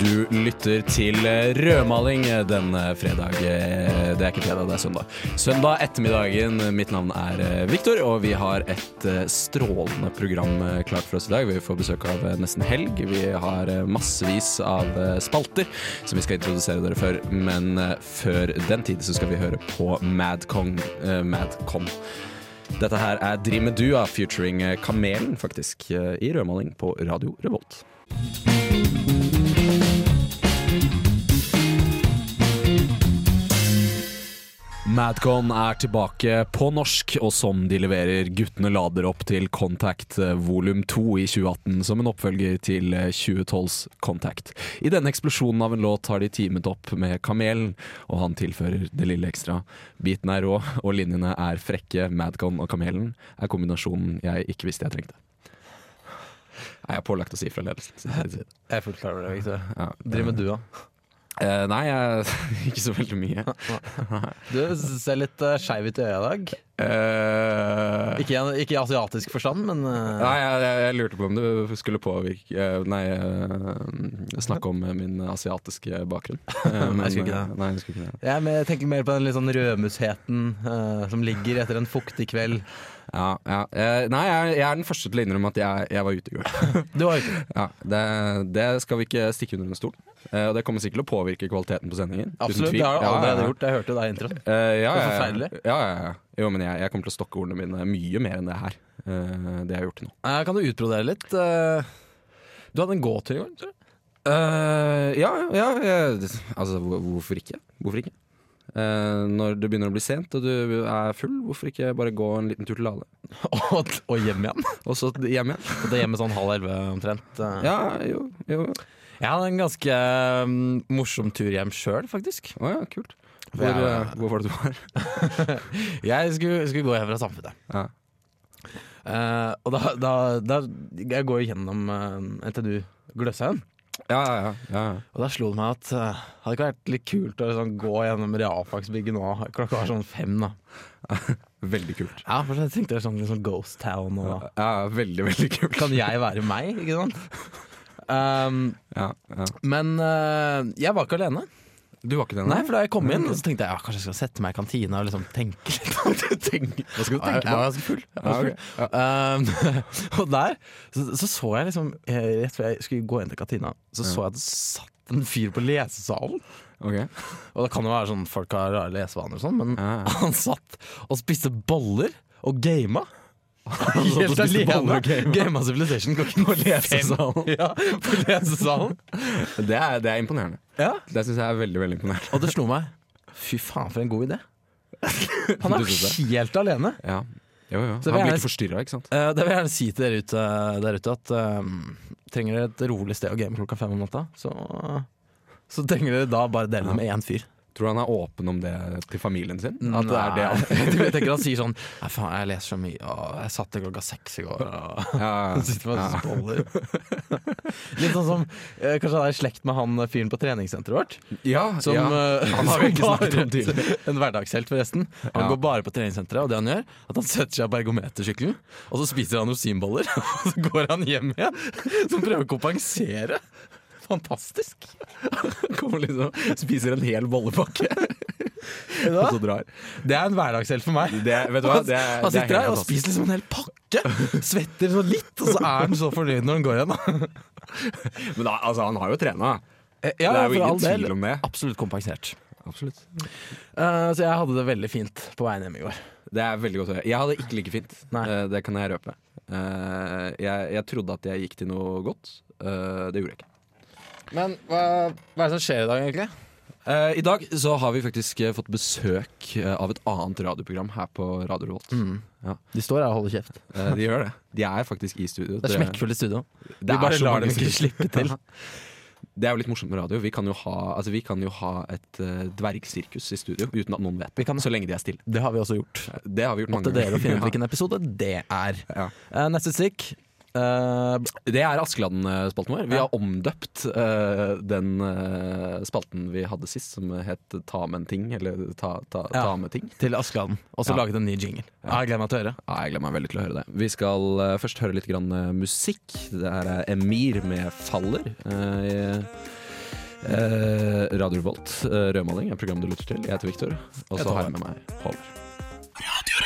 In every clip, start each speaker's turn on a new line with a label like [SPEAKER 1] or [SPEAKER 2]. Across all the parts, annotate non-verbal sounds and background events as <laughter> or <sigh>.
[SPEAKER 1] Du lytter til rødmaling denne fredag. Eh, Det er ikke fredag, det er søndag. Søndag ettermiddagen. Mitt navn er Viktor, og vi har et eh, strålende program eh, klart for oss i dag. Vi får besøk av eh, Nesten Helg. Vi har eh, massevis av eh, spalter som vi skal introdusere dere for. Men eh, før den tid så skal vi høre på Madcon. Madcon. Dette her er Dri med du av featuring eh, Kamelen, faktisk, eh, i rødmaling på Radio Revolt. Madcon er tilbake på norsk, og som de leverer guttene lader opp til Contact eh, volum 2 i 2018, som en oppfølger til eh, 2012s Contact. I denne eksplosjonen av en låt har de teamet opp med Kamelen, og han tilfører det lille ekstra. Biten er rå, og linjene er frekke. Madcon og Kamelen er kombinasjonen jeg ikke visste jeg trengte. Nei, jeg er pålagt å si fra ledelsen.
[SPEAKER 2] Jeg er fullt klar over det, Victor.
[SPEAKER 1] Ja.
[SPEAKER 2] Driver med du, da?
[SPEAKER 1] Eh, nei, jeg, <laughs> ikke så veldig mye.
[SPEAKER 2] Du ser litt uh, skeiv ut i øya i dag.
[SPEAKER 1] Eh,
[SPEAKER 2] Ikke, i- ikke i asiatisk forstand, men eh,
[SPEAKER 1] Nei, jeg, jeg, jeg lurte på om du skulle påvirke eh, Nei, eh, snakke om eh, min asiatiske
[SPEAKER 2] <laughs>
[SPEAKER 1] bakgrunn. Eh, men,
[SPEAKER 2] Jeg skulle ikke
[SPEAKER 1] eh,
[SPEAKER 2] det.
[SPEAKER 1] Nei, jeg skulle ikke det.
[SPEAKER 2] jeg, er mer- tenker mer på den litt sånn rødmusheten eh, som ligger etter en fuktig kveld.
[SPEAKER 1] Ja, ja. Eh, Nei, jeg, jeg er den første til å innrømme at jeg, jeg var ute i
[SPEAKER 2] <laughs>
[SPEAKER 1] går.
[SPEAKER 2] Du var ute.
[SPEAKER 1] Ja, det, det skal vi ikke stikke under en stol. Eh, Og det kommer sikkert til å påvirke kvaliteten på sendingen. uten
[SPEAKER 2] Absolutt,
[SPEAKER 1] tvil.
[SPEAKER 2] det har du
[SPEAKER 1] Ja, ja,
[SPEAKER 2] allerede
[SPEAKER 1] ja.
[SPEAKER 2] gjort. Jeg hørte det i introen.
[SPEAKER 1] Eh, ja,
[SPEAKER 2] Det er
[SPEAKER 1] ja, ja.
[SPEAKER 2] forferdelig.
[SPEAKER 1] Ja, ja, ja. Jo, men jeg, jeg kommer til å stokke ordene mine mye mer enn det her. eh, Det jeg har gjort til nå.
[SPEAKER 2] Eh, kan du utbrodere litt? eh, du hadde en gåtur i går, <laughs> tror jeg.
[SPEAKER 1] Eh, ja, ja, ja det- Altså, hvor- hvorfor ikke? Hvorfor ikke? Eh, når det begynner å bli sent og du er full, hvorfor ikke bare gå en liten tur til Lale?
[SPEAKER 2] og, og hjem igjen.
[SPEAKER 1] Og så hjem igjen?
[SPEAKER 2] Og det er hjemme sånn halv elleve omtrent. eh.
[SPEAKER 1] Ja, jo, jo.
[SPEAKER 2] Jeg hadde en ganske mm, morsom tur hjem sjøl, faktisk.
[SPEAKER 1] Å ja, kult. Hvor,
[SPEAKER 2] Ja.
[SPEAKER 1] eh, hvor var det du var?
[SPEAKER 2] Jeg skulle, skulle gå hjem fra samfunnet.
[SPEAKER 1] Ja.
[SPEAKER 2] Eh, og da, da, da Jeg går gjennom eh, NTNU Gløshaugen,
[SPEAKER 1] Ja, ja, ja. ja.
[SPEAKER 2] og da slo det meg at eh, hadde det ikke vært litt kult å liksom, gå gjennom realfagsbygget nå? Klokka var sånn fem, da.
[SPEAKER 1] Veldig kult.
[SPEAKER 2] Ja, for jeg tenkte det var sånn, litt sånn Ghost Town og
[SPEAKER 1] Ja, veldig, veldig kult.
[SPEAKER 2] Kan jeg være meg, ikke sant? Ehm,
[SPEAKER 1] Ja, ja.
[SPEAKER 2] men eh, jeg var ikke alene.
[SPEAKER 1] Du var ikke den?
[SPEAKER 2] Nei, for da jeg kom inn, så tenkte jeg ja, kanskje jeg skal sette meg i kantina og liksom
[SPEAKER 1] <laughs>
[SPEAKER 2] tenke litt. tenke. Hva
[SPEAKER 1] skal du tenke på?
[SPEAKER 2] Jeg var ganske full. Jeg
[SPEAKER 1] Ja,
[SPEAKER 2] var
[SPEAKER 1] ok.
[SPEAKER 2] full. Um, <laughs> og der så, så så jeg liksom eh, Rett før jeg skulle gå inn til kantina, så så jeg at det satt en fyr på lesesalen.
[SPEAKER 1] Ok.
[SPEAKER 2] Og det kan jo være sånn folk har rare lesevaner og sånn, men
[SPEAKER 1] Ja, ja.
[SPEAKER 2] han satt og spiste boller og gama.
[SPEAKER 1] <laughs> satt og
[SPEAKER 2] Helt
[SPEAKER 1] spiste boller
[SPEAKER 2] alene.
[SPEAKER 1] og gama.
[SPEAKER 2] Gama Civilization klokken på lesesalen. Ja, <laughs> på lesesalen.
[SPEAKER 1] <laughs> Det, er, det er imponerende.
[SPEAKER 2] Ja.
[SPEAKER 1] Det syns jeg er veldig veldig imponerende.
[SPEAKER 2] Og det slo meg. Fy faen, for en god idé. Han
[SPEAKER 1] Du
[SPEAKER 2] er
[SPEAKER 1] synes det?
[SPEAKER 2] helt alene.
[SPEAKER 1] Ja. Jo, jo. Han
[SPEAKER 2] Så vi
[SPEAKER 1] blir
[SPEAKER 2] er-
[SPEAKER 1] ikke forstyrra, ikke sant?
[SPEAKER 2] Eh, det vil jeg gjerne si til dere ute, der ute at eh, trenger dere et rolig sted å game klokka fem om natta, så, så trenger dere da bare dele det med én fyr.
[SPEAKER 1] Tror du han er åpen om det til familien sin? At det er det han
[SPEAKER 2] Nei. <laughs> Jeg tenker han sier sånn Nei, faen, jeg leser så mye, og jeg satt til klokka seks i går, og
[SPEAKER 1] Ja,
[SPEAKER 2] han sitter med og <laughs> spoller. Litt sånn som eh, Kanskje han er i slekt med han fyren på treningssenteret vårt.
[SPEAKER 1] <laughs> ja,
[SPEAKER 2] Som,
[SPEAKER 1] ja.
[SPEAKER 2] eh,
[SPEAKER 1] Han har vi
[SPEAKER 2] som
[SPEAKER 1] ikke snakket om
[SPEAKER 2] bare- <laughs> En hverdagshelt, forresten. Han
[SPEAKER 1] Ja.
[SPEAKER 2] går bare på treningssenteret, og det han gjør, at han setter seg på ergometersykkelen, og så spiser han rosinboller, <laughs> og så går han hjem igjen, <laughs> som prøver å kompensere. Fantastisk! <laughs>
[SPEAKER 1] Kommer liksom, spiser en hel <laughs> bollepakke og <laughs> så
[SPEAKER 2] Altså, Det
[SPEAKER 1] drar.
[SPEAKER 2] er en hverdagshelt for meg.
[SPEAKER 1] Det, vet du hva? Det, er-
[SPEAKER 2] eh, Han
[SPEAKER 1] det er
[SPEAKER 2] sitter der
[SPEAKER 1] helt
[SPEAKER 2] og
[SPEAKER 1] fantastisk.
[SPEAKER 2] spiser liksom en hel pakke, svetter så litt, og så er han så fornøyd når han går igjen. da.
[SPEAKER 1] Men da, altså, han har jo trena. det
[SPEAKER 2] Ja,
[SPEAKER 1] er
[SPEAKER 2] for
[SPEAKER 1] jo
[SPEAKER 2] all
[SPEAKER 1] ingen
[SPEAKER 2] del.
[SPEAKER 1] tvil om det.
[SPEAKER 2] Absolutt kompensert.
[SPEAKER 1] Absolutt.
[SPEAKER 2] Eh, så jeg hadde det veldig fint på veien hjem i går.
[SPEAKER 1] Det er veldig godt å høre. Jeg hadde ikke like fint.
[SPEAKER 2] Nei.
[SPEAKER 1] Eh, Det kan jeg røpe. Eh, Jeg, jeg trodde at jeg gikk til noe godt. Eh, Det gjorde jeg ikke.
[SPEAKER 2] Men hva, hva er det som skjer i dag, egentlig?
[SPEAKER 1] Eh, I dag så har vi faktisk eh, fått besøk eh, av et annet radioprogram her på Radio Revolt.
[SPEAKER 2] Mm. De står her og holder kjeft.
[SPEAKER 1] Eh, De gjør det. De er faktisk i studio.
[SPEAKER 2] Det er smekkfullt i studio.
[SPEAKER 1] Det
[SPEAKER 2] Vi
[SPEAKER 1] er
[SPEAKER 2] bare
[SPEAKER 1] så
[SPEAKER 2] lar
[SPEAKER 1] mange
[SPEAKER 2] dem ikke
[SPEAKER 1] som- <laughs>
[SPEAKER 2] slippe til.
[SPEAKER 1] Det er jo litt morsomt med radio. Vi kan jo ha, altså, vi kan jo ha et eh, dvergsirkus i studio uten at noen vet
[SPEAKER 2] Vi
[SPEAKER 1] det.
[SPEAKER 2] kan-
[SPEAKER 1] Så lenge de er stille.
[SPEAKER 2] Det har vi også gjort.
[SPEAKER 1] Det har vi gjort mange
[SPEAKER 2] Til dere å finne ut
[SPEAKER 1] ganger.
[SPEAKER 2] hvilken episode det er.
[SPEAKER 1] <laughs> Ja.
[SPEAKER 2] Eh, neste stikk eh,
[SPEAKER 1] Det er Askeladden-spalten vår. Vi
[SPEAKER 2] Ja.
[SPEAKER 1] har omdøpt eh, den eh, spalten vi hadde sist, som het Ta med en ting, eller Ta, ta,
[SPEAKER 2] Ja.
[SPEAKER 1] ta med ting.
[SPEAKER 2] til Askeladden. Og så
[SPEAKER 1] Ja.
[SPEAKER 2] laget en ny jingle. Ja. Jeg gleder meg til å høre.
[SPEAKER 1] Ja, jeg gleder meg veldig til å høre det. Vi skal eh, først høre litt grann, eh, musikk. Det her er Emir med 'Faller'. Eh, Eh, Radio Revolt, eh, rødmaling, er programmet du lytter til. Jeg heter Victor, og
[SPEAKER 2] Jeg
[SPEAKER 1] så
[SPEAKER 2] tar
[SPEAKER 1] har jeg
[SPEAKER 2] det.
[SPEAKER 1] med meg Håvard.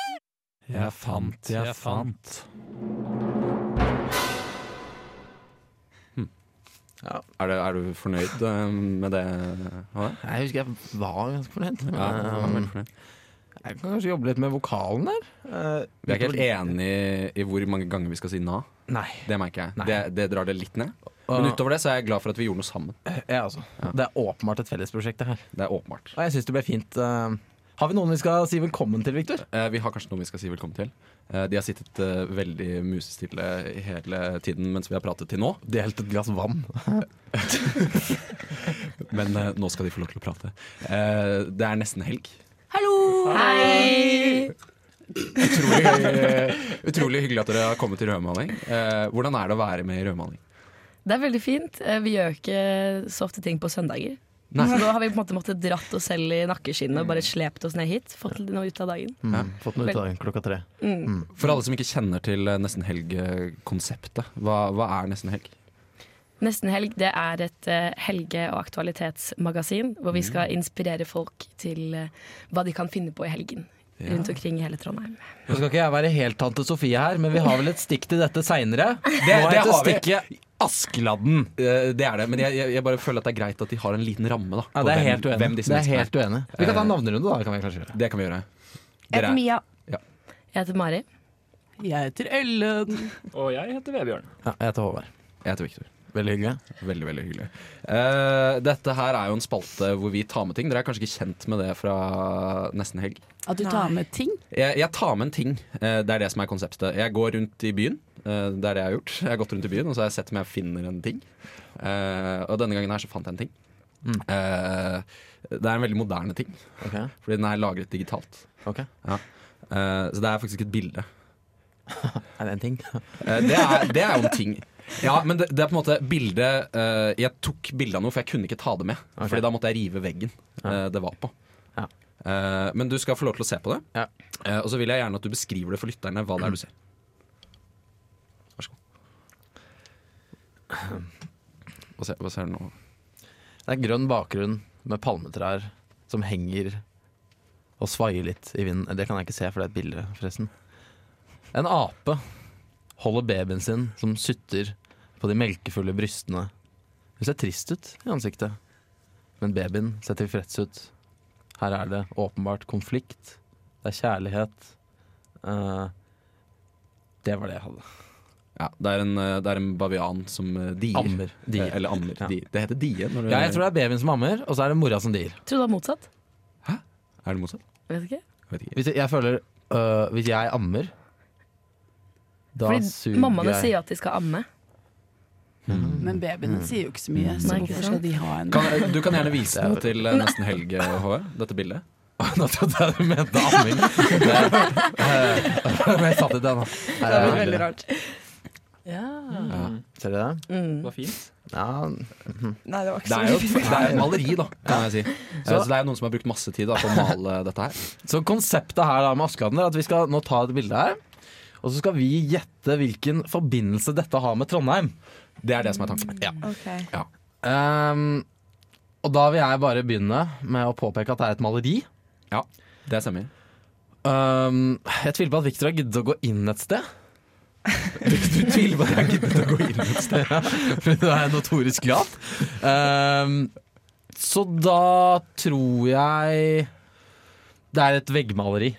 [SPEAKER 1] Jeg fant, jeg fant.
[SPEAKER 2] Ja.
[SPEAKER 1] Hm. Er du, er du fornøyd eh, med det? Håvard?
[SPEAKER 2] Jeg husker jeg var ganske fornøyd. men,
[SPEAKER 1] Ja,
[SPEAKER 2] um,
[SPEAKER 1] veldig fornøyd.
[SPEAKER 2] Jeg kan kanskje jobbe litt med vokalen der. Eh,
[SPEAKER 1] Vi er ikke helt enige i hvor mange ganger vi skal si na.
[SPEAKER 2] Nei.
[SPEAKER 1] Det merker jeg.
[SPEAKER 2] Nei.
[SPEAKER 1] Det, det drar det litt ned.
[SPEAKER 2] Og-
[SPEAKER 1] Men utover det så er jeg glad for at vi gjorde noe sammen.
[SPEAKER 2] Ja, altså. Det er åpenbart et fellesprosjekt, det her.
[SPEAKER 1] Det er åpenbart.
[SPEAKER 2] Og jeg syns det ble fint. eh, har vi noen vi skal si velkommen til, Victor?
[SPEAKER 1] Eh, Vi har kanskje noen vi skal si velkommen til. Eh, De har sittet eh, veldig musestille hele tiden mens vi har pratet til nå.
[SPEAKER 2] Delt et glass vann.
[SPEAKER 1] Men eh, nå skal de få lov til å prate. Eh, Det er nesten helg.
[SPEAKER 3] Hallo! Hei!
[SPEAKER 1] Utrolig, utrolig hyggelig at dere har kommet til rødmaling. Eh, Hvordan er det å være med i rødmaling?
[SPEAKER 3] Det er veldig fint. Eh, Vi gjør ikke så ofte ting på søndager.
[SPEAKER 1] Nei.
[SPEAKER 3] Så da har vi på en måte måttet dratt oss selv i nakkeskinnet og bare slept oss ned hit. Fått litt noe ut av dagen.
[SPEAKER 2] Fått den ut av dagen klokka tre.
[SPEAKER 1] For alle som ikke kjenner til eh, nesten helg-konseptet, hva, hva er nesten helg?
[SPEAKER 3] Nesten helg det er et eh, helge- og aktualitetsmagasin hvor vi
[SPEAKER 2] Mm.
[SPEAKER 3] skal inspirere folk til eh, hva de kan finne på i helgen. Rundt omkring i hele Trondheim.
[SPEAKER 2] Nå skal ikke jeg være helt tante Sofie her, men vi har vel et stikk til dette seinere. <laughs>
[SPEAKER 1] Det, det har vi.
[SPEAKER 2] stikket Askeladden.
[SPEAKER 1] Eh, Det er det, men jeg, jeg, jeg bare føler at det er greit at de har en liten ramme. da
[SPEAKER 2] Ja,
[SPEAKER 1] på
[SPEAKER 2] det er
[SPEAKER 1] hvem-
[SPEAKER 2] helt uenig.
[SPEAKER 1] hvem
[SPEAKER 2] Det
[SPEAKER 1] disse
[SPEAKER 2] er
[SPEAKER 1] menneskene
[SPEAKER 2] helt uenig. Vi kan ta en navnerunde, da. kan vi kanskje gjøre
[SPEAKER 1] Det kan vi gjøre.
[SPEAKER 4] Jeg
[SPEAKER 1] Dere
[SPEAKER 4] heter
[SPEAKER 1] er-
[SPEAKER 4] Mia.
[SPEAKER 3] Jeg heter Mari.
[SPEAKER 2] Jeg heter Ellen.
[SPEAKER 5] Og jeg heter Vebjørn.
[SPEAKER 2] Ja, jeg heter Håvard.
[SPEAKER 1] Jeg heter Victor.
[SPEAKER 2] Veldig hyggelig.
[SPEAKER 1] Veldig, veldig hyggelig. Eh, dette her er jo en spalte hvor vi tar med ting. Dere er kanskje ikke kjent med det fra nesten helg.
[SPEAKER 4] At du tar med ting.
[SPEAKER 1] Jeg, jeg tar med en ting. Eh, det er det som er konseptet. Jeg går rundt i byen. Eh, det er det jeg har gjort. Jeg har gått rundt i byen og så har jeg sett om jeg finner en ting. Eh, og denne gangen her så fant jeg en ting.
[SPEAKER 2] Mm.
[SPEAKER 1] Eh, det er en veldig moderne ting,
[SPEAKER 2] Ok,
[SPEAKER 1] fordi den er lagret digitalt.
[SPEAKER 2] ok.
[SPEAKER 1] Eh, så det er faktisk ikke et bilde.
[SPEAKER 2] Er det en ting?
[SPEAKER 1] Eh, Det er, det er jo en ting. Ja, men det, det er på en måte bildet eh, Jeg tok bilde av noe, for jeg kunne ikke ta det med.
[SPEAKER 2] Ok.
[SPEAKER 1] Fordi da måtte jeg rive veggen eh, det var på.
[SPEAKER 2] Ja.
[SPEAKER 1] Eh, men du skal få lov til å se på det.
[SPEAKER 2] Ja.
[SPEAKER 1] Eh, og så vil jeg gjerne at du beskriver det for lytterne hva det er du ser. Vær så god. Hva ser, hva ser du nå?
[SPEAKER 2] Det er grønn bakgrunn med palmetrær som henger og svaier litt i vinden. Det kan jeg ikke se, for det er et bilde, forresten. En ape holder babyen sin som sutter på de melkefulle brystene. Hun ser trist ut i ansiktet, men babyen ser tilfreds ut. Her er det åpenbart konflikt. Det er kjærlighet. Eh, det var det jeg hadde.
[SPEAKER 1] Ja, det, er en, eh, det er en bavian som eh, dier.
[SPEAKER 2] Ammer.
[SPEAKER 1] Eh,
[SPEAKER 2] Dier.
[SPEAKER 1] Eller ammer.
[SPEAKER 2] Ja.
[SPEAKER 1] Dier. Det heter die. Når du,
[SPEAKER 2] Ja, jeg tror det er babyen som ammer, og så er det mora som dier.
[SPEAKER 3] Tror du det var motsatt?
[SPEAKER 1] Er det motsatt?
[SPEAKER 3] Vet ikke.
[SPEAKER 1] Jeg vet ikke.
[SPEAKER 2] Hvis jeg, jeg føler øh, Hvis jeg ammer Da
[SPEAKER 3] Fordi
[SPEAKER 2] suger
[SPEAKER 3] mammaene
[SPEAKER 2] jeg
[SPEAKER 3] sier at de skal amme.
[SPEAKER 4] Men babyene
[SPEAKER 6] Mm.
[SPEAKER 4] sier jo ikke så mye, så
[SPEAKER 3] Nei, ikke
[SPEAKER 4] hvorfor
[SPEAKER 3] sant?
[SPEAKER 4] skal de ha en
[SPEAKER 1] Kan, eh, du kan gjerne vise det til eh, nesten helg, eh, HV. Dette bildet.
[SPEAKER 2] Nå trodde jeg du mente
[SPEAKER 1] <laughs>
[SPEAKER 2] amming Det-
[SPEAKER 1] eh,
[SPEAKER 2] øh, Men jeg satt i den da.
[SPEAKER 4] Det
[SPEAKER 2] Her
[SPEAKER 4] er
[SPEAKER 2] er
[SPEAKER 4] veldig
[SPEAKER 2] bildet.
[SPEAKER 4] rart.
[SPEAKER 1] Ja.
[SPEAKER 2] Ser du det?
[SPEAKER 5] Det var fint.
[SPEAKER 2] Ja
[SPEAKER 4] Nei, det var
[SPEAKER 1] Det
[SPEAKER 4] ikke
[SPEAKER 1] er
[SPEAKER 4] så
[SPEAKER 1] jo et, det er et maleri, da, kan jeg si. Eh, Så det er noen som har brukt masse tid da, på å male eh, dette her.
[SPEAKER 2] Så konseptet her da med Askeladden er at vi skal nå ta et bilde her Og så skal vi gjette hvilken forbindelse dette har med Trondheim
[SPEAKER 1] Det er det som er tanken.
[SPEAKER 2] Ehm, Og da vil jeg bare begynne med å påpeke at det er et maleri
[SPEAKER 1] Ja, det stemmer.
[SPEAKER 2] Ehm, Jeg tviler på at Victor har giddet å gå inn et sted <laughs>
[SPEAKER 1] Du tviler på at jeg giddet å gå inn et sted.
[SPEAKER 2] For da er jeg notorisk lat. Ehm, så da tror jeg det er et veggmaleri.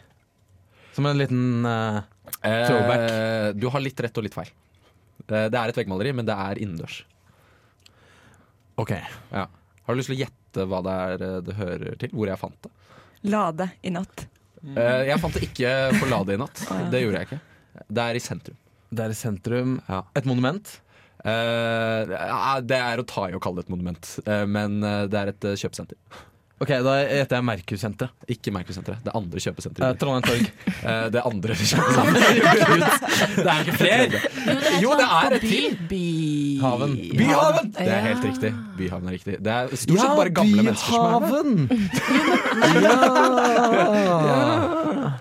[SPEAKER 2] Som en liten eh, Throwback.
[SPEAKER 1] du har litt rett og litt feil. Eh, Det er et veggmaleri, men det er innendørs.
[SPEAKER 2] OK.
[SPEAKER 1] Ja. Har du lyst til å gjette hva det er eh, det hører til? Hvor jeg fant det?
[SPEAKER 7] Lade i natt.
[SPEAKER 1] Eh, jeg fant det ikke på Lade i natt. Det gjorde jeg ikke. Det er i sentrum.
[SPEAKER 2] Det er i sentrum.
[SPEAKER 1] Ja.
[SPEAKER 2] Et monument.
[SPEAKER 1] Eh, ja, det er å ta i å kalle det et monument, eh, men eh, det er et eh, kjøpesenter.
[SPEAKER 2] Ok, Da gjetter jeg Merkursenteret.
[SPEAKER 1] Ikke Merkursenteret. Det andre kjøpesenteret.
[SPEAKER 2] Eh, Trondheim Torg.
[SPEAKER 1] <laughs> Eh, det
[SPEAKER 2] <laughs>
[SPEAKER 1] andre kjøpesenteret. det er ikke flere! Jo, det er et til!
[SPEAKER 4] By...
[SPEAKER 2] Haven.
[SPEAKER 1] Byhaven! Det er
[SPEAKER 4] Ja.
[SPEAKER 1] helt riktig. Byhaven er riktig. Det er stort sett bare gamle mennesker som er der.
[SPEAKER 2] ja.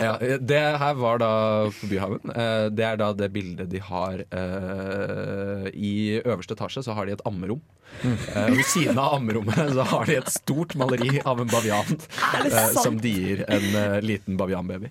[SPEAKER 1] Ja, det her var da på Byhaven. Eh, Det er da det bildet de har eh, I øverste etasje så har de et ammerom. Eh, og Ved siden av ammerommet så har de et stort maleri av en bavian eh, som dier en eh, liten bavianbaby.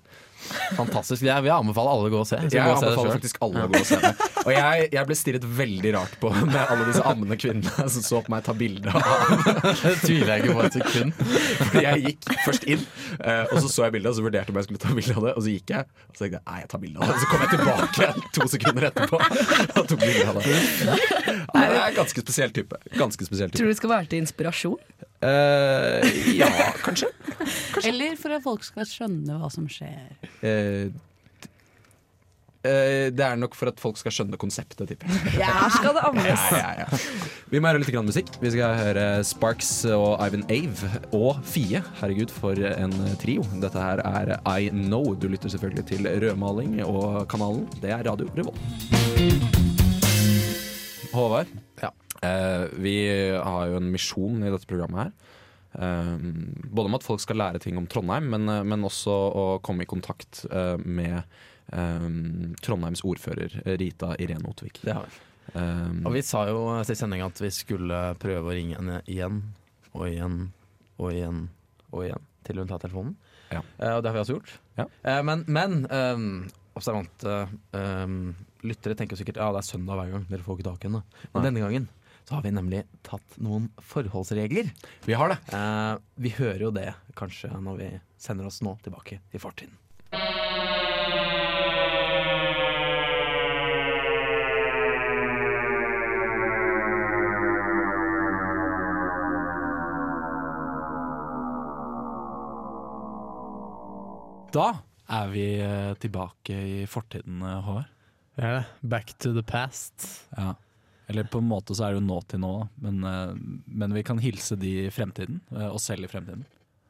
[SPEAKER 2] Fantastisk. Jeg vil anbefale alle å gå og se.
[SPEAKER 1] Jeg anbefaler faktisk alle å gå og se det. Og jeg, jeg ble stirret veldig rart på med alle disse ammende kvinnene som så på meg ta bilde av
[SPEAKER 2] Det tviler jeg ikke på et sekund.
[SPEAKER 1] Fordi jeg gikk først inn, eh, og så så jeg bildet, og så vurderte jeg om jeg skulle ta bilde av det. Og så gikk jeg, og så tenkte jeg nei, jeg tar bilde av det. Så kom jeg tilbake igjen to sekunder etterpå og tok bilde av det. Nei, det er en ganske spesiell type. Ganske spesiell type.
[SPEAKER 3] Tror du det skal være til inspirasjon?
[SPEAKER 1] Eh, ja, kanskje.
[SPEAKER 4] Eller for at folk skal skjønne hva som skjer.
[SPEAKER 1] Eh, d- eh, det er nok for at folk skal skjønne konseptet, tipper jeg.
[SPEAKER 4] <laughs>
[SPEAKER 3] Her skal det
[SPEAKER 1] Ja, ja, ja. Vi må høre litt grann musikk. Vi skal høre Sparks og Ivan Ave og Fie. Herregud, for en trio. Dette her er I Know. Du lytter selvfølgelig til rødmaling og kanalen. Det er Radio Revolt. Håvard,
[SPEAKER 2] Ja.
[SPEAKER 1] eh, vi har jo en misjon i dette programmet her. Eh, både om at folk skal lære ting om Trondheim, men, eh, men også å komme i kontakt eh, med eh, Trondheims ordfører Rita Irene Otvik.
[SPEAKER 2] Det har vi.
[SPEAKER 1] Eh,
[SPEAKER 5] Mm.
[SPEAKER 2] Og vi sa jo eh, til sending at vi skulle prøve å ringe henne igjen og igjen og igjen og igjen til hun tar telefonen.
[SPEAKER 1] Ja.
[SPEAKER 2] Eh, og det har vi også gjort.
[SPEAKER 1] Ja.
[SPEAKER 2] Eh, men men eh, observante eh, lyttere tenker jo sikkert ja, det er søndag hver gang, dere får ikke tak i henne. Men
[SPEAKER 1] Nei.
[SPEAKER 2] denne gangen så har vi nemlig tatt noen forholdsregler.
[SPEAKER 1] vi har det.
[SPEAKER 2] Eh, vi hører jo det kanskje når vi sender oss nå tilbake i fortiden.
[SPEAKER 5] Da er vi eh, tilbake i fortiden, eh, Håvard.
[SPEAKER 7] Ja, back to the past.
[SPEAKER 5] Ja. Eller på en måte så er det jo nå til nå, da. men, eh, men vi kan hilse de i fremtiden. eh, Oss selv i fremtiden.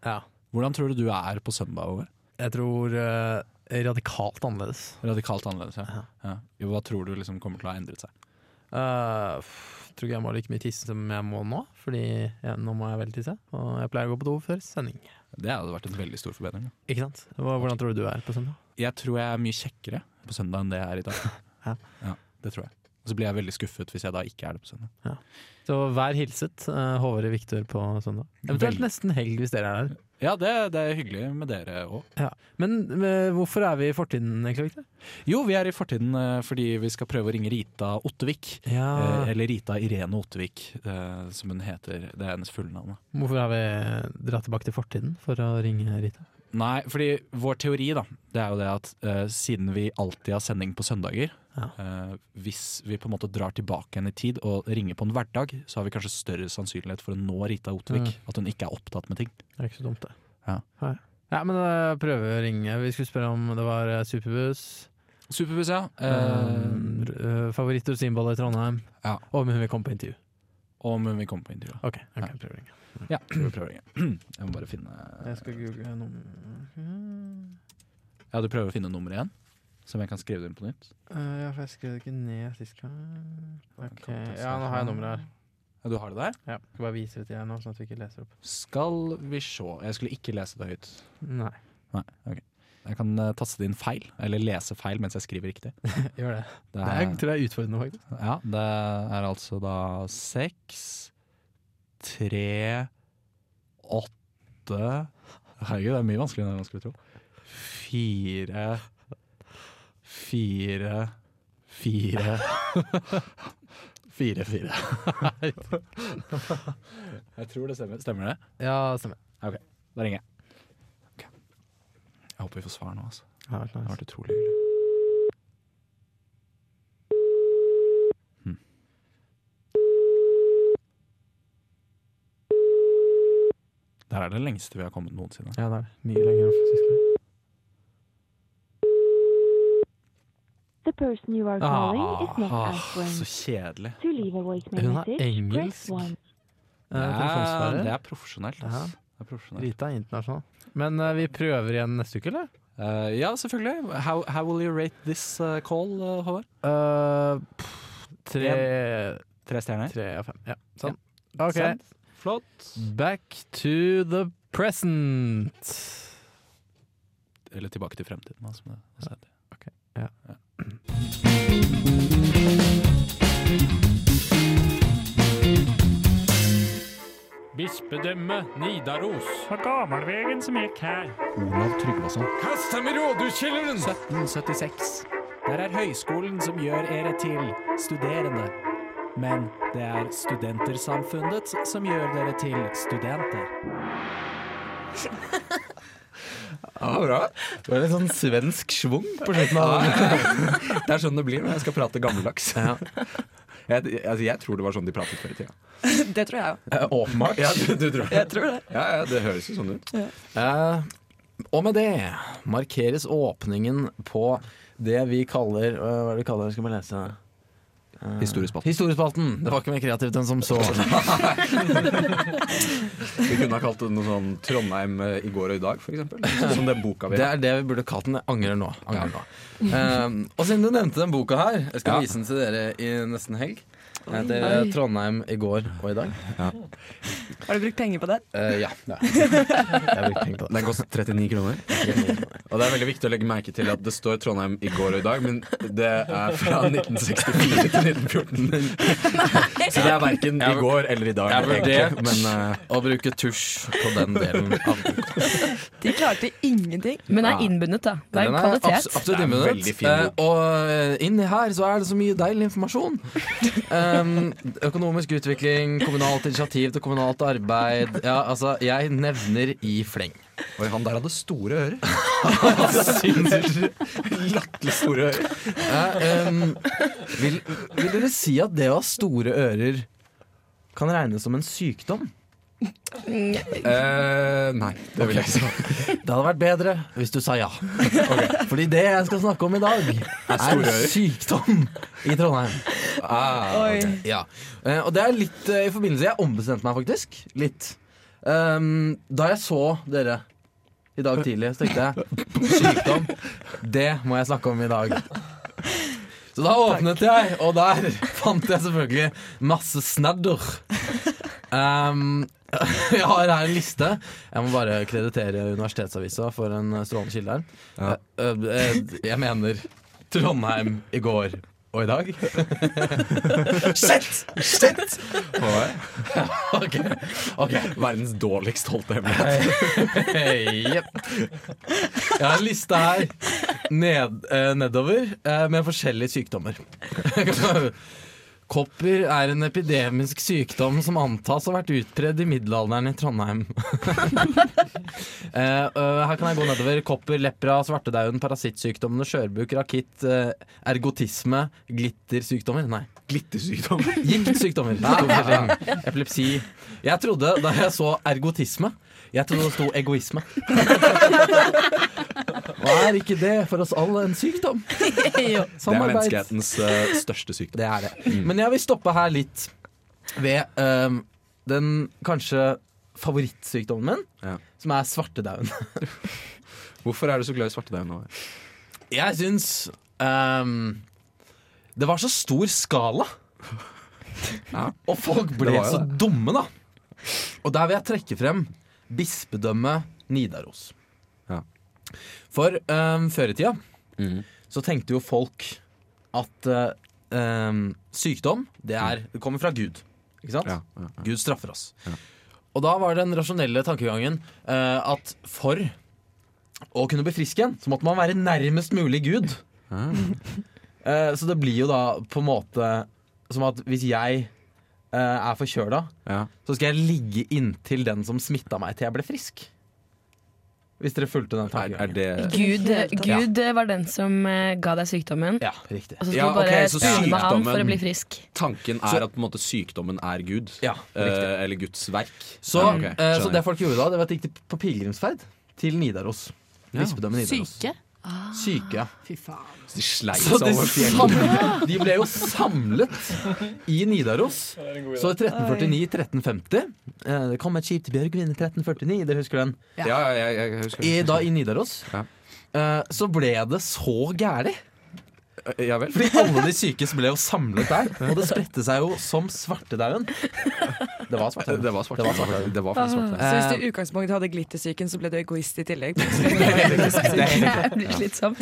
[SPEAKER 7] Ja.
[SPEAKER 5] Hvordan tror du du er på søndag? Håvard?
[SPEAKER 7] Jeg tror eh, radikalt annerledes.
[SPEAKER 5] Radikalt annerledes, ja. ja. Jo, Hva tror du liksom kommer til å ha endret seg?
[SPEAKER 7] Eh, f- tror ikke jeg må like mye tisse som jeg må nå, Fordi jeg, nå må jeg veldig tisse. Og jeg pleier å gå på do før sending.
[SPEAKER 5] Det hadde vært en veldig stor forbedring. da.
[SPEAKER 7] Ikke sant? Hva, hvordan tror du du er på søndag?
[SPEAKER 5] Jeg tror jeg er mye kjekkere på søndag enn det jeg er i dag.
[SPEAKER 7] Ja.
[SPEAKER 5] det tror jeg. Og så blir jeg veldig skuffet hvis jeg da ikke er det på søndag.
[SPEAKER 7] Så vær hilset, eh, Håvard og Viktor på søndag. Eventuelt
[SPEAKER 5] Veldig.
[SPEAKER 7] nesten helg hvis dere er der.
[SPEAKER 5] Ja, det, det er hyggelig med dere òg.
[SPEAKER 7] Ja. Men eh, hvorfor er vi i fortiden, egentlig? Victor?
[SPEAKER 5] Jo, vi er i fortiden eh, fordi vi skal prøve å ringe Rita Ottevik. Eh,
[SPEAKER 7] Ja.
[SPEAKER 5] Eller Rita Irene Ottevik, eh, som hun heter. Det er hennes fulle navn. da.
[SPEAKER 7] Hvorfor har vi eh, dratt tilbake til fortiden for å ringe Rita?
[SPEAKER 5] Nei, fordi vår teori da, det er jo det at eh, siden vi alltid har sending på søndager,
[SPEAKER 7] Ja.
[SPEAKER 5] eh, hvis vi på en måte drar tilbake igjen i tid og ringer på en hverdag, så har vi kanskje større sannsynlighet for å nå Rita Ottevik. At hun ikke er opptatt med ting.
[SPEAKER 7] Det er ikke så dumt, det.
[SPEAKER 5] Ja.
[SPEAKER 7] Nei. Ja, men da prøver vi å ringe. Vi skulle spørre om det var eh, superbuss.
[SPEAKER 5] Superbuss, ja.
[SPEAKER 7] Um, uh, Favorittrusinbolle i Trondheim.
[SPEAKER 5] Ja.
[SPEAKER 7] Og hun vil komme på intervju.
[SPEAKER 5] om hun vil komme på intervju.
[SPEAKER 7] Ok, ok,
[SPEAKER 5] Ja.
[SPEAKER 7] prøver ringe.
[SPEAKER 5] Ja, vi prøver igjen. Jeg må bare finne
[SPEAKER 7] skal google
[SPEAKER 5] Ja, du prøver å finne nummeret igjen? Som jeg kan skrive det inn på nytt?
[SPEAKER 7] Eh, Ja, for jeg skrev det ikke ned sist gang. Ok,
[SPEAKER 5] Kontaktstasjon.
[SPEAKER 7] Ja, nå har jeg nummeret her.
[SPEAKER 5] Ja, du har det der?
[SPEAKER 7] Ja, skal bare vise det til deg nå, sånn at vi ikke leser opp.
[SPEAKER 5] Skal vi se. Jeg skulle ikke lese det høyt.
[SPEAKER 7] Nei,
[SPEAKER 5] Nei, ok. Jeg kan eh, taste det inn feil, eller lese feil mens jeg skriver riktig.
[SPEAKER 7] <laughs> gjør det.
[SPEAKER 5] Det
[SPEAKER 7] Det
[SPEAKER 5] er,
[SPEAKER 7] er, tror jeg er utfordrende, faktisk.
[SPEAKER 5] ja, det er altså da seks, tre, åtte Herregud, det er mye vanskeligere enn man skulle tro. Fire, fire, fire <laughs> Fire, fire. <laughs> Jeg tror det stemmer. Stemmer det?
[SPEAKER 7] Ja, stemmer.
[SPEAKER 5] Da ringer jeg. Ok. Jeg håper vi får svar nå, altså.
[SPEAKER 7] Ja, det er
[SPEAKER 5] Det
[SPEAKER 7] nice.
[SPEAKER 5] har vært utrolig hyggelig. Hm. Det Det her er det lengste vi har kommet noensinne.
[SPEAKER 7] Ja, det er det. Mye lenger enn sist gang.
[SPEAKER 8] The person you are calling is not answering.
[SPEAKER 1] så kjedelig.
[SPEAKER 8] To leave a voicemail
[SPEAKER 7] Ah, Hun er
[SPEAKER 8] message, press
[SPEAKER 7] engelsk.
[SPEAKER 8] 1.
[SPEAKER 7] Eh, telefonsvarer.
[SPEAKER 1] det er profesjonelt.
[SPEAKER 7] Ja.
[SPEAKER 1] ass. Det er profesjonelt.
[SPEAKER 7] Rita er internasjonal. Men eh, vi prøver igjen neste uke, eller?
[SPEAKER 1] Eh, ja, selvfølgelig. How, how will you rate this
[SPEAKER 5] eh,
[SPEAKER 1] uh, call, uh, Håvard?
[SPEAKER 7] tre,
[SPEAKER 5] Tre stjerner.
[SPEAKER 7] tre av fem. Ja, sånn. Ok,
[SPEAKER 5] Send. Flott.
[SPEAKER 7] back to the present.
[SPEAKER 5] Eller tilbake til fremtiden. da, som det også heter.
[SPEAKER 7] Bispedømme Nidaros.
[SPEAKER 9] På gammelvegen som gikk her.
[SPEAKER 5] Olav Tryggvason.
[SPEAKER 1] Kast dem i rådhuskjelleren!
[SPEAKER 5] 1776. Der er høyskolen som gjør dere til studerende. Men det er studentersamfunnet som gjør dere til studenter.
[SPEAKER 2] Det var litt sånn svensk schwung på slutten av
[SPEAKER 1] Det er sånn det blir når jeg skal prate gammeldags.
[SPEAKER 2] Ja.
[SPEAKER 1] Jeg, jeg- altså, jeg tror det var sånn de pratet før i tida.
[SPEAKER 6] Det tror jeg òg.
[SPEAKER 2] Eh, Åpenbart.
[SPEAKER 1] Ja, du, du tror det.
[SPEAKER 6] Jeg tror det.
[SPEAKER 1] Ja, ja, det høres jo sånn ut.
[SPEAKER 2] Eh, og med det markeres åpningen på det vi kaller eh, Hva er det vi kaller det? Skal vi lese? Eh,
[SPEAKER 1] Historiespalten.
[SPEAKER 2] Historiespalten! Det var ikke mer kreativt enn som så.
[SPEAKER 1] Vi kunne ha kalt det noe sånn Trondheim eh, i går og i dag, for eksempel. Sånn som den boka vi
[SPEAKER 2] Det
[SPEAKER 1] har.
[SPEAKER 2] er det vi burde kalt den. Jeg angrer nå. Angrer nå. Eh, og siden du nevnte den boka her, jeg skal
[SPEAKER 1] Ja.
[SPEAKER 2] vise den til dere i nesten helg. Den heter
[SPEAKER 6] Oi.
[SPEAKER 2] eh, 'Trondheim i går og i dag'.
[SPEAKER 6] Har du brukt penger på det?
[SPEAKER 2] Eh,
[SPEAKER 1] <laughs>
[SPEAKER 2] ja. ja. Jeg har brukt penger på det.
[SPEAKER 1] Den kostet 39 kroner. Og det er veldig viktig å legge merke til at det står Trondheim i går og i dag, men det er fra 1964 til 1914. Så det er verken i går eller i dag.
[SPEAKER 2] Jeg vurderte,
[SPEAKER 1] egentlig,
[SPEAKER 2] men eh, <laughs> å bruke tusj på den delen av boka
[SPEAKER 6] De klarte ingenting.
[SPEAKER 3] Men
[SPEAKER 1] Ja.
[SPEAKER 3] er innbundet, da. Det er
[SPEAKER 2] Den
[SPEAKER 3] kvalitet.
[SPEAKER 2] abs-
[SPEAKER 1] Det er
[SPEAKER 2] absolutt
[SPEAKER 1] en
[SPEAKER 2] innbundet.
[SPEAKER 1] veldig fin
[SPEAKER 2] Eh,
[SPEAKER 1] bok.
[SPEAKER 2] og eh, inni her så er det så mye
[SPEAKER 1] <laughs>
[SPEAKER 2] deilig informasjon. Em, økonomisk utvikling, kommunalt initiativ til kommunalt arbeid. Ja, altså, jeg nevner i fleng.
[SPEAKER 1] Oi, han der hadde store <laughs> ører. Sinnssykt latterlig store ører.
[SPEAKER 2] Eh, em, vil, vil dere si at det å ha store ører kan regnes som en sykdom?
[SPEAKER 1] Eh, nei, det vil jeg ikke si.
[SPEAKER 2] <laughs> Det hadde vært bedre hvis du sa ja. Fordi det jeg skal snakke om i dag,
[SPEAKER 1] store
[SPEAKER 2] er
[SPEAKER 1] ører.
[SPEAKER 2] sykdom i Trondheim.
[SPEAKER 1] Ah,
[SPEAKER 6] Oi.
[SPEAKER 2] <laughs> Ja, eh, og det er litt eh, i forbindelse Jeg ombestemte meg faktisk, litt Ehm, Da jeg så dere I dag tidlig, så tenkte jeg Sykdom, det må jeg snakke om i dag Så da åpnet jeg Og der fant jeg selvfølgelig Masse snadder Ehm, <laughs> Jeg har her en liste Jeg må bare kreditere universitetsavisa For en eh, strålende kilde her
[SPEAKER 1] Ja.
[SPEAKER 2] Eh, eh, Jeg mener Trondheim i går og i dag Shit! Shit!
[SPEAKER 1] <laughs> Håvard.
[SPEAKER 2] Ok, ok
[SPEAKER 1] Verdens dårligst holdte <laughs> hemmelighet.
[SPEAKER 2] Jepp. Jeg har en liste her ned, eh, nedover eh, med forskjellige sykdommer. <laughs> Kopper er en epidemisk sykdom som antas å ha vært utpredd i middelalderen i Trondheim. <laughs> Eh, øh, her kan jeg gå nedover. Kopper, lepra, svartedauden, parasittsykdommene, skjørbuk, rakitt, eh, ergotisme, glittersykdommer Nei.
[SPEAKER 1] Glittersykdom.
[SPEAKER 2] Giktsykdommer. Sykdomsforskjelling. Epilepsi. Jeg trodde, da jeg så ergotisme Jeg trodde det sto egoisme. Og er ikke det for oss alle en sykdom?
[SPEAKER 6] Jo.
[SPEAKER 1] Det er
[SPEAKER 2] Samarbeid.
[SPEAKER 1] menneskehetens eh, største sykdom.
[SPEAKER 2] Det er det. Men jeg vil stoppe her litt ved øhm, den kanskje favorittsykdommen min,
[SPEAKER 1] Ja.
[SPEAKER 2] som er svartedauden.
[SPEAKER 1] Hvorfor er du så glad i svartedauden nå?
[SPEAKER 2] Jeg syns øhm, det var så stor skala.
[SPEAKER 1] Ja.
[SPEAKER 2] Og folk ble
[SPEAKER 1] Det var jo
[SPEAKER 2] så dumme, da. Og der vil jeg trekke frem bispedømmet Nidaros.
[SPEAKER 1] Ja.
[SPEAKER 2] For øhm, før i tida
[SPEAKER 1] Mhm.
[SPEAKER 2] så tenkte jo folk at øh, øhm, sykdom, det, er, det kommer fra Gud. Ikke sant?
[SPEAKER 1] Mm. Ja, ja.
[SPEAKER 2] Gud straffer oss.
[SPEAKER 1] Ja.
[SPEAKER 2] Og da var den rasjonelle tankegangen eh, at for å kunne bli frisk igjen, så måtte man være nærmest mulig Gud.
[SPEAKER 1] Ah.
[SPEAKER 2] Eh, så det blir jo da på en måte som at hvis jeg eh, er forkjøla,
[SPEAKER 1] Ja.
[SPEAKER 2] så skal jeg ligge inntil den som smitta meg, til jeg ble frisk. Hvis dere fulgte den
[SPEAKER 1] Er, er
[SPEAKER 2] tankegangen.
[SPEAKER 1] det
[SPEAKER 3] Gud, Gud eh, var den som eh, ga deg sykdommen.
[SPEAKER 2] Ja, riktig.
[SPEAKER 3] Og så
[SPEAKER 1] Ja,
[SPEAKER 3] skal du bare
[SPEAKER 1] ok, så
[SPEAKER 3] stune med han for
[SPEAKER 1] sykdommen-
[SPEAKER 3] å bli frisk.
[SPEAKER 1] Tanken
[SPEAKER 2] Så-
[SPEAKER 1] er at på en måte, sykdommen er Gud?
[SPEAKER 2] Ja, riktig.
[SPEAKER 1] Eh, eller Guds verk?
[SPEAKER 2] Så,
[SPEAKER 1] Ja, ok,
[SPEAKER 2] eh, så
[SPEAKER 1] skjønner.
[SPEAKER 2] det folk gjorde da, det var at de gikk til- på pilegrimsferd til Nidaros.
[SPEAKER 1] Ja.
[SPEAKER 2] Bispedømmet Nidaros.
[SPEAKER 4] Syke?
[SPEAKER 2] Syke, ja.
[SPEAKER 4] Fy faen.
[SPEAKER 1] De sleit
[SPEAKER 2] <laughs> Så
[SPEAKER 1] seg
[SPEAKER 2] de,
[SPEAKER 1] over fjellet.
[SPEAKER 2] samlet, de ble jo samlet i Nidaros. Så i 1349-1350 eh, Det kom et skip til Bjørgvin i 1349, dere husker den?
[SPEAKER 1] Ja, ja, jeg, jeg husker
[SPEAKER 2] I, da i Nidaros.
[SPEAKER 1] Ja.
[SPEAKER 2] eh, Så ble det så gæli.
[SPEAKER 1] det. Eh, Ja vel?
[SPEAKER 2] Fordi alle de sykeste ble jo samlet der. Og det spredte seg jo som svartedauden. Det var svartedauden.
[SPEAKER 1] Det var svart.
[SPEAKER 2] Det var
[SPEAKER 1] Det var faktisk svart.
[SPEAKER 6] Så hvis du i utgangspunktet hadde glittersyken, så ble du egoist i
[SPEAKER 1] <laughs>
[SPEAKER 3] <laughs>
[SPEAKER 6] tillegg.
[SPEAKER 3] Det blir slitsomt.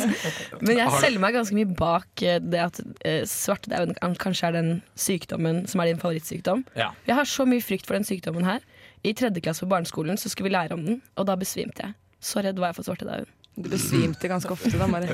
[SPEAKER 3] Men jeg selger meg ganske mye bak eh, det at eh, svartedauden kan- kanskje er den sykdommen som er din favorittsykdom.
[SPEAKER 2] Ja.
[SPEAKER 3] Jeg har så mye frykt for den sykdommen her. I tredje klasse på barneskolen så skulle vi lære om den, og da besvimte jeg. Så redd var jeg for svartedauden.
[SPEAKER 6] Du besvimte ganske ofte da, Mari.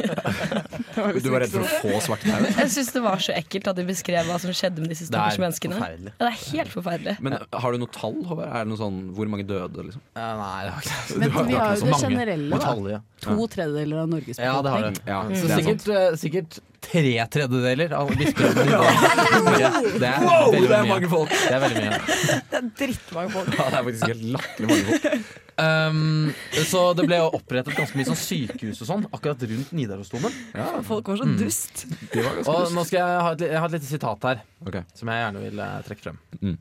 [SPEAKER 1] Du var redd for å få <laughs> svartedauden?
[SPEAKER 3] Jeg syns det var så ekkelt at de beskrev hva som skjedde med disse stakkars menneskene.
[SPEAKER 2] forferdelig.
[SPEAKER 3] Ja, det er helt forferdelig.
[SPEAKER 1] Men har du noe tall? Håvard? Er det noe sånn, Hvor mange døde? liksom?
[SPEAKER 2] Eh, Nei, det var ikke det.
[SPEAKER 1] Du
[SPEAKER 4] Men
[SPEAKER 1] har- du
[SPEAKER 4] vi
[SPEAKER 1] har ikke
[SPEAKER 4] har jo
[SPEAKER 1] så
[SPEAKER 4] det
[SPEAKER 1] mange.
[SPEAKER 4] generelle, da.
[SPEAKER 2] Tallet, ja.
[SPEAKER 4] To tredjedeler av Norges
[SPEAKER 2] ja, det har
[SPEAKER 4] befolkning.
[SPEAKER 2] det.
[SPEAKER 1] Ja,
[SPEAKER 2] Så
[SPEAKER 1] det er sant.
[SPEAKER 2] sikkert, eh, sikkert tre tredjedeler av
[SPEAKER 1] <laughs>
[SPEAKER 2] bispedømmet i Nidaros. Det er
[SPEAKER 1] Oh,
[SPEAKER 2] veldig mye.
[SPEAKER 1] folk!
[SPEAKER 2] Det er veldig mye.
[SPEAKER 6] Det er drittmange folk.
[SPEAKER 1] Ja, det er faktisk helt latterlig mange folk.
[SPEAKER 2] Um, så det ble jo opprettet ganske mye sånn sykehus og sånn akkurat rundt Nidarosdomen. Mm.
[SPEAKER 6] Folk var så dust.
[SPEAKER 1] De var ganske
[SPEAKER 2] Og nå skal jeg ha et, li- jeg har et lite sitat her.
[SPEAKER 1] Ok.
[SPEAKER 2] som jeg gjerne vil eh, trekke frem.
[SPEAKER 1] Mm.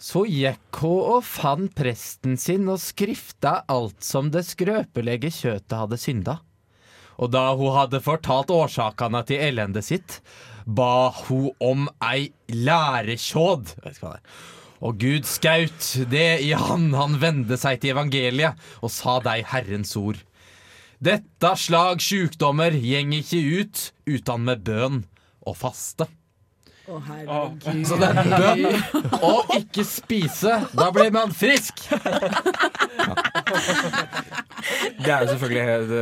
[SPEAKER 2] Så gikk hun og fann presten sin og skrifta alt som det skrøpelege kjøtet hadde synda. Og da hun hadde fortalt årsakene til elendet sitt, ba hun om ei lærekjåd. Jeg vet ikke hva det er. Og Gud skaut det i han han vende seg til evangeliet, og sa deg Herrens ord. Dette slag sjukdommer gjeng ikke ut utan med bønn og faste.
[SPEAKER 4] Å, herregud.
[SPEAKER 2] Så det er bønn og ikke spise. Da blir man frisk!
[SPEAKER 1] Det er jo selvfølgelig det,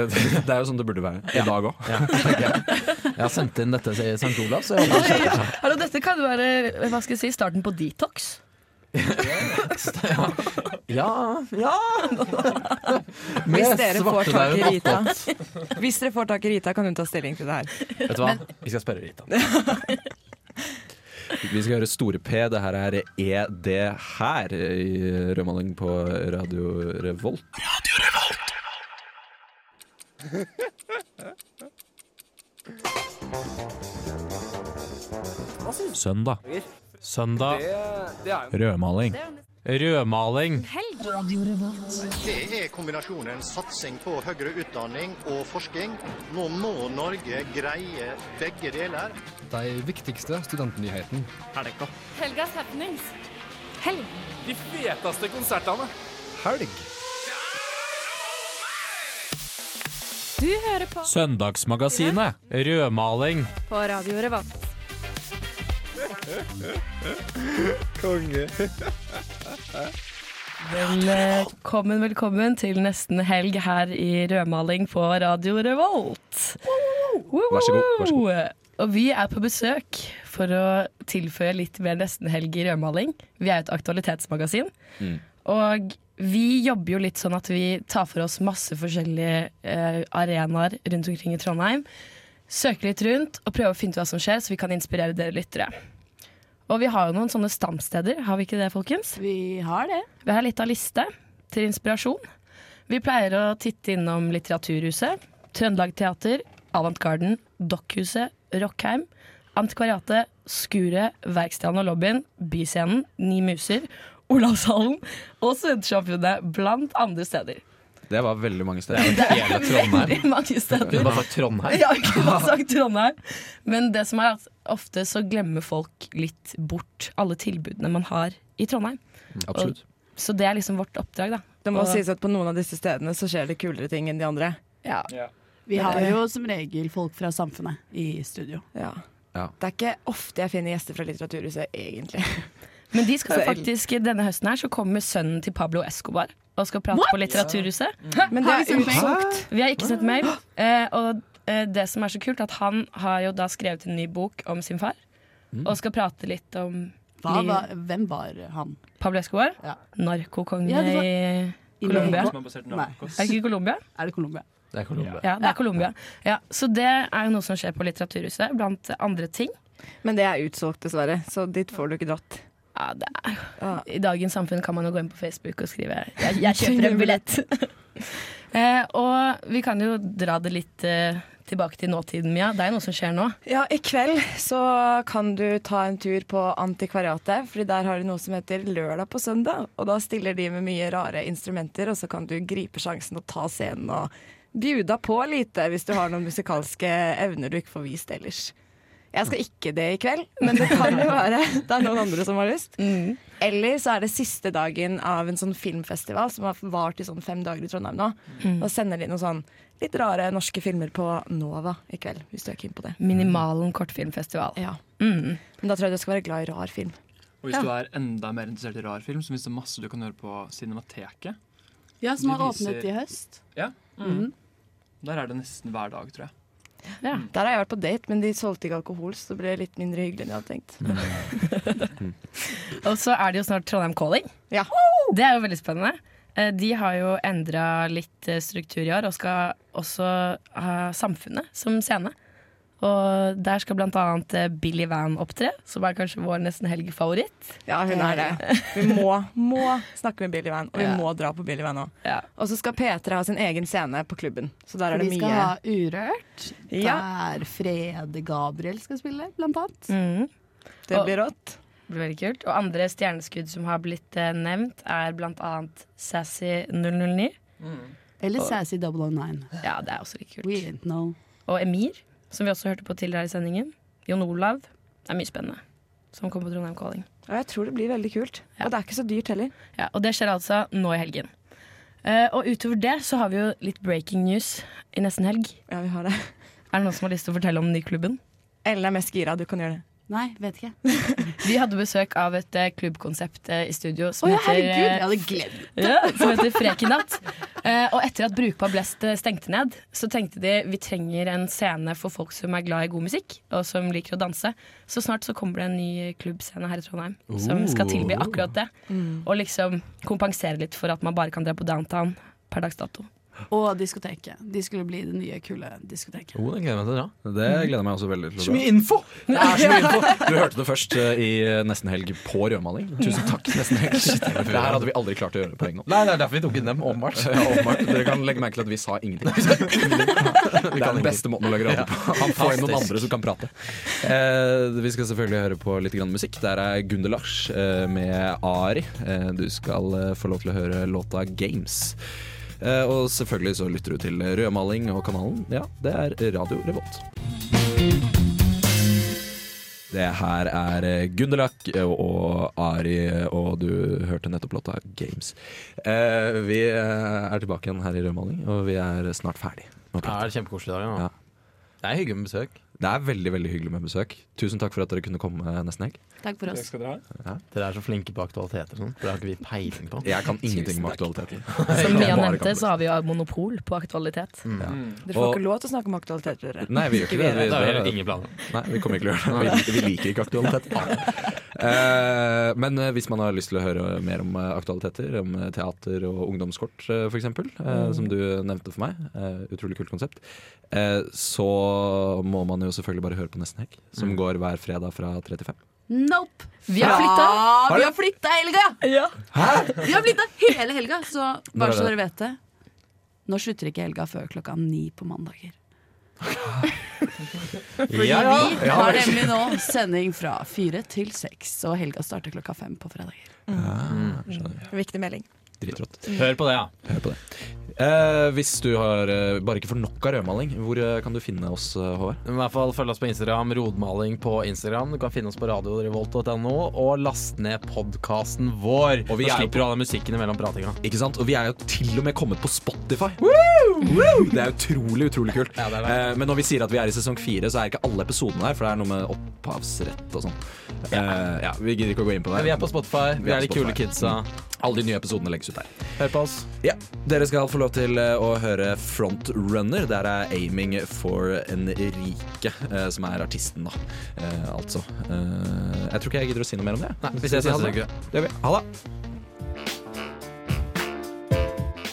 [SPEAKER 1] det er jo sånn det burde være i dag òg.
[SPEAKER 2] Jeg har sendt inn dette til St. Olavs. så jeg håper det skjer.
[SPEAKER 3] Hallo, dette kan jo være hva skal jeg si, starten på detox.
[SPEAKER 2] Ja, ja
[SPEAKER 6] Hvis dere får tak i
[SPEAKER 2] svartedauden
[SPEAKER 6] Rita, Hvis dere får tak i Rita, kan hun ta stilling til det her.
[SPEAKER 2] Vet du hva? Vi skal spørre Rita.
[SPEAKER 1] Vi skal høre Store P. Det her er E ED her i Rødmaling på Radio Revolt.
[SPEAKER 5] Søndag.
[SPEAKER 7] Søndag.
[SPEAKER 5] Rødmaling.
[SPEAKER 2] Rødmaling.
[SPEAKER 10] Det er kombinasjonen satsing på høyere utdanning og forskning. Nå må Norge greie begge deler.
[SPEAKER 11] De viktigste studentnyhetene.
[SPEAKER 3] Helgas happenings.
[SPEAKER 5] Søndagsmagasinet.
[SPEAKER 2] Rødmaling.
[SPEAKER 6] På Radio Revolt.
[SPEAKER 3] Velkommen, velkommen til nesten helg her i Rødmaling på Radio Revolt.
[SPEAKER 1] Vær så god, vær så
[SPEAKER 3] Og vi er på besøk for å tilføye litt mer nesten helg i rødmaling. Vi er jo et aktualitetsmagasin.
[SPEAKER 1] Mm.
[SPEAKER 3] Og vi jobber jo litt sånn at vi tar for oss masse forskjellige eh, arenaer rundt omkring i Trondheim. Søker litt rundt og prøver å finne ut hva som skjer, så vi kan inspirere dere lyttere. Og vi har jo noen sånne stamsteder, har vi ikke det, folkens?
[SPEAKER 4] Vi har det.
[SPEAKER 3] Vi har litt av liste til inspirasjon. Vi pleier å titte innom Litteraturhuset, Trøndelag Teater, Avant Garden, Dokkhuset, Rockheim, Antikvariatet, Skuret, Verkstedet og Lobbyen, Byscenen, Ni Muser, Olavshallen og Studentsamfunnet, blant andre steder.
[SPEAKER 1] Det var veldig mange steder.
[SPEAKER 2] Hele Trondheim.
[SPEAKER 3] Veldig mange
[SPEAKER 2] Du
[SPEAKER 3] steder.
[SPEAKER 2] bare sagt Trondheim.
[SPEAKER 3] Jeg har ikke <laughs> bare sagt Trondheim. Men det som er at ofte så glemmer folk litt bort alle tilbudene man har i Trondheim.
[SPEAKER 1] Absolutt.
[SPEAKER 3] Så det er liksom vårt oppdrag, da.
[SPEAKER 6] Det må
[SPEAKER 3] Og-
[SPEAKER 6] sies at på noen av disse stedene så skjer det kulere ting enn de andre.
[SPEAKER 3] Ja.
[SPEAKER 4] Vi har jo som regel folk fra samfunnet i studio.
[SPEAKER 6] Ja.
[SPEAKER 1] Ja.
[SPEAKER 6] Det er ikke ofte jeg finner gjester fra Litteraturhuset, egentlig.
[SPEAKER 3] Men de skal jo
[SPEAKER 6] Selv.
[SPEAKER 3] faktisk, denne høsten her så kommer sønnen til Pablo Escobar og skal prate på Litteraturhuset.
[SPEAKER 6] Men det er utsolgt.
[SPEAKER 3] Vi har ikke sendt mail. eh, Og eh, det som er så kult, er at han har jo da skrevet en ny bok om sin far. Og skal prate litt om
[SPEAKER 4] Hva,
[SPEAKER 3] Liv.
[SPEAKER 4] var- hvem var han?
[SPEAKER 3] Pablo Escobar.
[SPEAKER 4] Ja.
[SPEAKER 3] Narkokongen
[SPEAKER 4] Ja, det var-
[SPEAKER 3] i Colombia?
[SPEAKER 12] Som er basert i Narcos.
[SPEAKER 3] Er det ikke Colombia?
[SPEAKER 4] Er det Colombia?
[SPEAKER 2] Det er Colombia.
[SPEAKER 3] Ja, det er Colombia. Ja, så det er jo noe som skjer på Litteraturhuset, blant andre ting.
[SPEAKER 6] Men det er utsolgt, dessverre, så dit får du ikke dratt.
[SPEAKER 3] Ja, det er. I dagens samfunn kan man jo gå inn på Facebook og skrive 'jeg, jeg kjøper en billett'. <laughs> eh, og vi kan jo dra det litt eh, tilbake til nåtiden, Mia. Det er jo noe som skjer nå.
[SPEAKER 6] Ja, I kveld så kan du ta en tur på Antikvariatet, Fordi der har de noe som heter Lørdag på søndag. Og da stiller de med mye rare instrumenter, og så kan du gripe sjansen og ta scenen og bjuda på lite hvis du har noen musikalske evner du ikke får vist ellers. Jeg skal ikke det i kveld, men det kan jo være det er noen andre som har lyst. Eller så er det siste dagen av en sånn filmfestival som har vart i sånn fem dager i Trondheim nå.
[SPEAKER 3] Mm.
[SPEAKER 6] Og sender de noen sånn litt rare norske filmer på Nova i kveld, hvis du er keen på det.
[SPEAKER 3] Minimalen kortfilmfestival.
[SPEAKER 6] Ja. Men da tror jeg du skal være glad i rar film.
[SPEAKER 12] Og hvis
[SPEAKER 6] Ja.
[SPEAKER 12] du er enda mer interessert i rar film, så finnes det masse du kan høre på Cinemateket.
[SPEAKER 4] Ja, som
[SPEAKER 12] De
[SPEAKER 4] har
[SPEAKER 12] viser-
[SPEAKER 4] åpnet i høst.
[SPEAKER 12] Ja.
[SPEAKER 4] Mhm.
[SPEAKER 12] Der er det nesten hver dag, tror jeg.
[SPEAKER 6] Der har jeg vært på date, men de solgte ikke alkohol, så det ble litt mindre hyggelig enn jeg hadde tenkt.
[SPEAKER 3] Og så er det jo snart Trondheim Calling. Det er jo veldig spennende. Eh, De har jo endra litt eh, struktur i år, og skal også ha Samfunnet som scene. Og der skal blant annet eh, Billy Van opptre, som er kanskje vår nesten helgefavoritt.
[SPEAKER 6] Ja, hun er det. Vi må, må snakke med Billy Van, og vi
[SPEAKER 3] Ja.
[SPEAKER 6] må dra på Billy Van òg.
[SPEAKER 3] Ja.
[SPEAKER 6] Og så skal P3 ha sin egen scene på klubben, så der
[SPEAKER 4] For
[SPEAKER 6] er det
[SPEAKER 4] de
[SPEAKER 6] mye
[SPEAKER 4] skal ha Urørt,
[SPEAKER 6] Ja.
[SPEAKER 4] der Frede Gabriel skal spille, blant annet.
[SPEAKER 1] Mm.
[SPEAKER 6] Det blir rått.
[SPEAKER 3] Mhm. Det blir veldig kult. Og andre stjerneskudd som har blitt eh, nevnt, er blant annet Sassy 009.
[SPEAKER 4] Eller
[SPEAKER 3] Og-
[SPEAKER 4] Sassy 009.
[SPEAKER 3] Ja, det er også litt kult.
[SPEAKER 4] We didn't know.
[SPEAKER 3] Og Emir, som vi også hørte på tidligere i sendingen. Jon Olav. Det er mye spennende som kommer på Trondheim Calling.
[SPEAKER 6] Og jeg tror det blir veldig kult. Og det er ikke så dyrt heller.
[SPEAKER 3] Ja, og det skjer altså nå i helgen. Eh, og utover det så har vi jo litt breaking news i nesten helg.
[SPEAKER 6] Ja, vi har det.
[SPEAKER 3] Er det noen som har lyst til å fortelle om den nye klubben?
[SPEAKER 6] Ellen er mest gira, du kan gjøre det.
[SPEAKER 4] Nei, vet ikke.
[SPEAKER 3] Vi hadde besøk av et eh, klubbkonsept eh, i studio som
[SPEAKER 4] Å ja,
[SPEAKER 3] heter eh,
[SPEAKER 4] herregud, jeg hadde glemt det.
[SPEAKER 3] ja, <laughs> Som heter Frekennatt. Eh, og etter at Brukbar Blest eh, stengte ned, så tenkte de vi trenger en scene for folk som er glad i god musikk, og som liker å danse. Så snart så kommer det en ny klubbscene her i Trondheim som skal tilby
[SPEAKER 6] Oh.
[SPEAKER 3] akkurat det.
[SPEAKER 6] Mm.
[SPEAKER 3] Og liksom kompensere litt for at man bare kan dra på downtown per dags dato.
[SPEAKER 4] Og diskoteket. De skulle bli det nye kule diskoteket.
[SPEAKER 1] Oh,
[SPEAKER 2] den gleder jeg meg til å
[SPEAKER 1] dra. Det gleder jeg meg også veldig til å
[SPEAKER 4] Så mye
[SPEAKER 2] info!
[SPEAKER 1] Det er så mye
[SPEAKER 3] <laughs>
[SPEAKER 1] info! <laughs> Du hørte det først eh, i Nesten Helg på Rødmaling. Tusen takk, Nesten Helg. Det her hadde vi aldri klart å gjøre på egen hånd.
[SPEAKER 2] Nei, det er derfor vi tok inn dem, åpenbart.
[SPEAKER 1] Ja, åpenbart. Dere kan legge merke til at vi sa <laughs> ingenting. Det er den beste måten å lage radio på. Han får inn noen
[SPEAKER 2] Fantastisk.
[SPEAKER 1] andre som kan prate. Eh, vi skal selvfølgelig høre på litt grann musikk. Der er Gunder Lars eh, med Ari. Eh, du skal eh, få lov til å høre låta 'Games'. Eh, og selvfølgelig så lytter du til rødmaling og kanalen. Ja, det er Radio Revolt. Det her er Gunderlach og Ari, og du hørte nettopp låta 'Games'. Eh, vi eh, er tilbake igjen her i Rødmaling, og vi er snart ferdig. med
[SPEAKER 2] Ja,
[SPEAKER 1] plata.
[SPEAKER 2] det er kjempekoselig i dag. Ja.
[SPEAKER 1] Ja.
[SPEAKER 2] Det er hyggelig med besøk.
[SPEAKER 1] Det er veldig veldig hyggelig med besøk. Tusen takk for at dere kunne komme eh, nesten helg.
[SPEAKER 4] Takk for oss.
[SPEAKER 1] Ja.
[SPEAKER 2] Dere er så flinke på aktualiteter. og sånt. Dere har ikke vi peiling på.
[SPEAKER 1] Jeg kan ingenting om aktualiteter.
[SPEAKER 3] Som
[SPEAKER 1] Jeg
[SPEAKER 3] Mia
[SPEAKER 1] bare
[SPEAKER 3] nevnte,
[SPEAKER 1] kan-
[SPEAKER 3] så har vi jo monopol på aktualitet.
[SPEAKER 1] Ja.
[SPEAKER 6] Dere får
[SPEAKER 1] Og-
[SPEAKER 6] ikke lov til å snakke om aktualiteter. dere.
[SPEAKER 1] Nei, vi gjør ikke det. Vi,
[SPEAKER 2] Det har vi ingen planer om.
[SPEAKER 1] Nei, vi kommer ikke til å gjøre det. Vi, vi liker ikke aktualitet. Eh, men eh, hvis man har lyst til å høre mer om eh, aktualiteter, om eh, teater og ungdomskort eh, f.eks.,
[SPEAKER 2] Mm.
[SPEAKER 1] som du nevnte for meg, eh, utrolig kult konsept, eh, så må man jo selvfølgelig bare høre på Nesten Helg, som går hver fredag fra 35.
[SPEAKER 4] Nope!
[SPEAKER 3] Vi har flytta.
[SPEAKER 1] Har du?
[SPEAKER 4] Vi har flytta helga! Vi har flytta hele helga, så
[SPEAKER 1] Når er
[SPEAKER 4] bare så
[SPEAKER 1] det?
[SPEAKER 4] dere vet det. Nå slutter ikke helga før klokka ni på
[SPEAKER 1] <laughs>
[SPEAKER 4] mandager. Fordi
[SPEAKER 1] Ja, ja.
[SPEAKER 4] vi
[SPEAKER 1] Ja,
[SPEAKER 4] har
[SPEAKER 1] vel.
[SPEAKER 4] nemlig nå sending fra fire til seks, og helga starter klokka fem på fredager.
[SPEAKER 6] Viktig melding.
[SPEAKER 1] Dritrått.
[SPEAKER 2] Hør på det, ja.
[SPEAKER 1] Hør på det. Eh, hvis du har eh, bare ikke får nok av rødmaling, hvor eh, kan du finne oss, eh, Håvard?
[SPEAKER 2] Du må i hvert fall følge oss på Instagram, Rodmaling på Instagram. Du kan finne oss på radiorevolt.no, og last ned podkasten vår.
[SPEAKER 1] Og vi
[SPEAKER 2] Da
[SPEAKER 1] er jo
[SPEAKER 2] slipper du all den musikken imellom pratinga.
[SPEAKER 1] Ikke sant? Og vi er jo til og med kommet på Spotify. Det er utrolig, utrolig kult. Eh, men når vi sier at vi er i sesong fire, så er ikke alle episodene her, for det er noe med opphavsrett og sånn. Eh, ja, vi gidder ikke å gå inn på det.
[SPEAKER 2] Men vi er på Spotify. Vi
[SPEAKER 1] Vi er
[SPEAKER 2] er de
[SPEAKER 1] på
[SPEAKER 2] kule
[SPEAKER 1] Spotify.
[SPEAKER 2] kidsa.
[SPEAKER 1] Alle de nye episodene legges ut der.
[SPEAKER 2] Hør på oss.
[SPEAKER 1] Ja, Dere skal få lov til eh, å høre Frontrunner. Der er Aiming for Enrique, eh, som er artisten, da. Eh, altså. Eh, jeg tror ikke jeg gidder å si noe mer om det.
[SPEAKER 2] Nei, vi ses neste uke.
[SPEAKER 1] Det gjør vi. Ha det.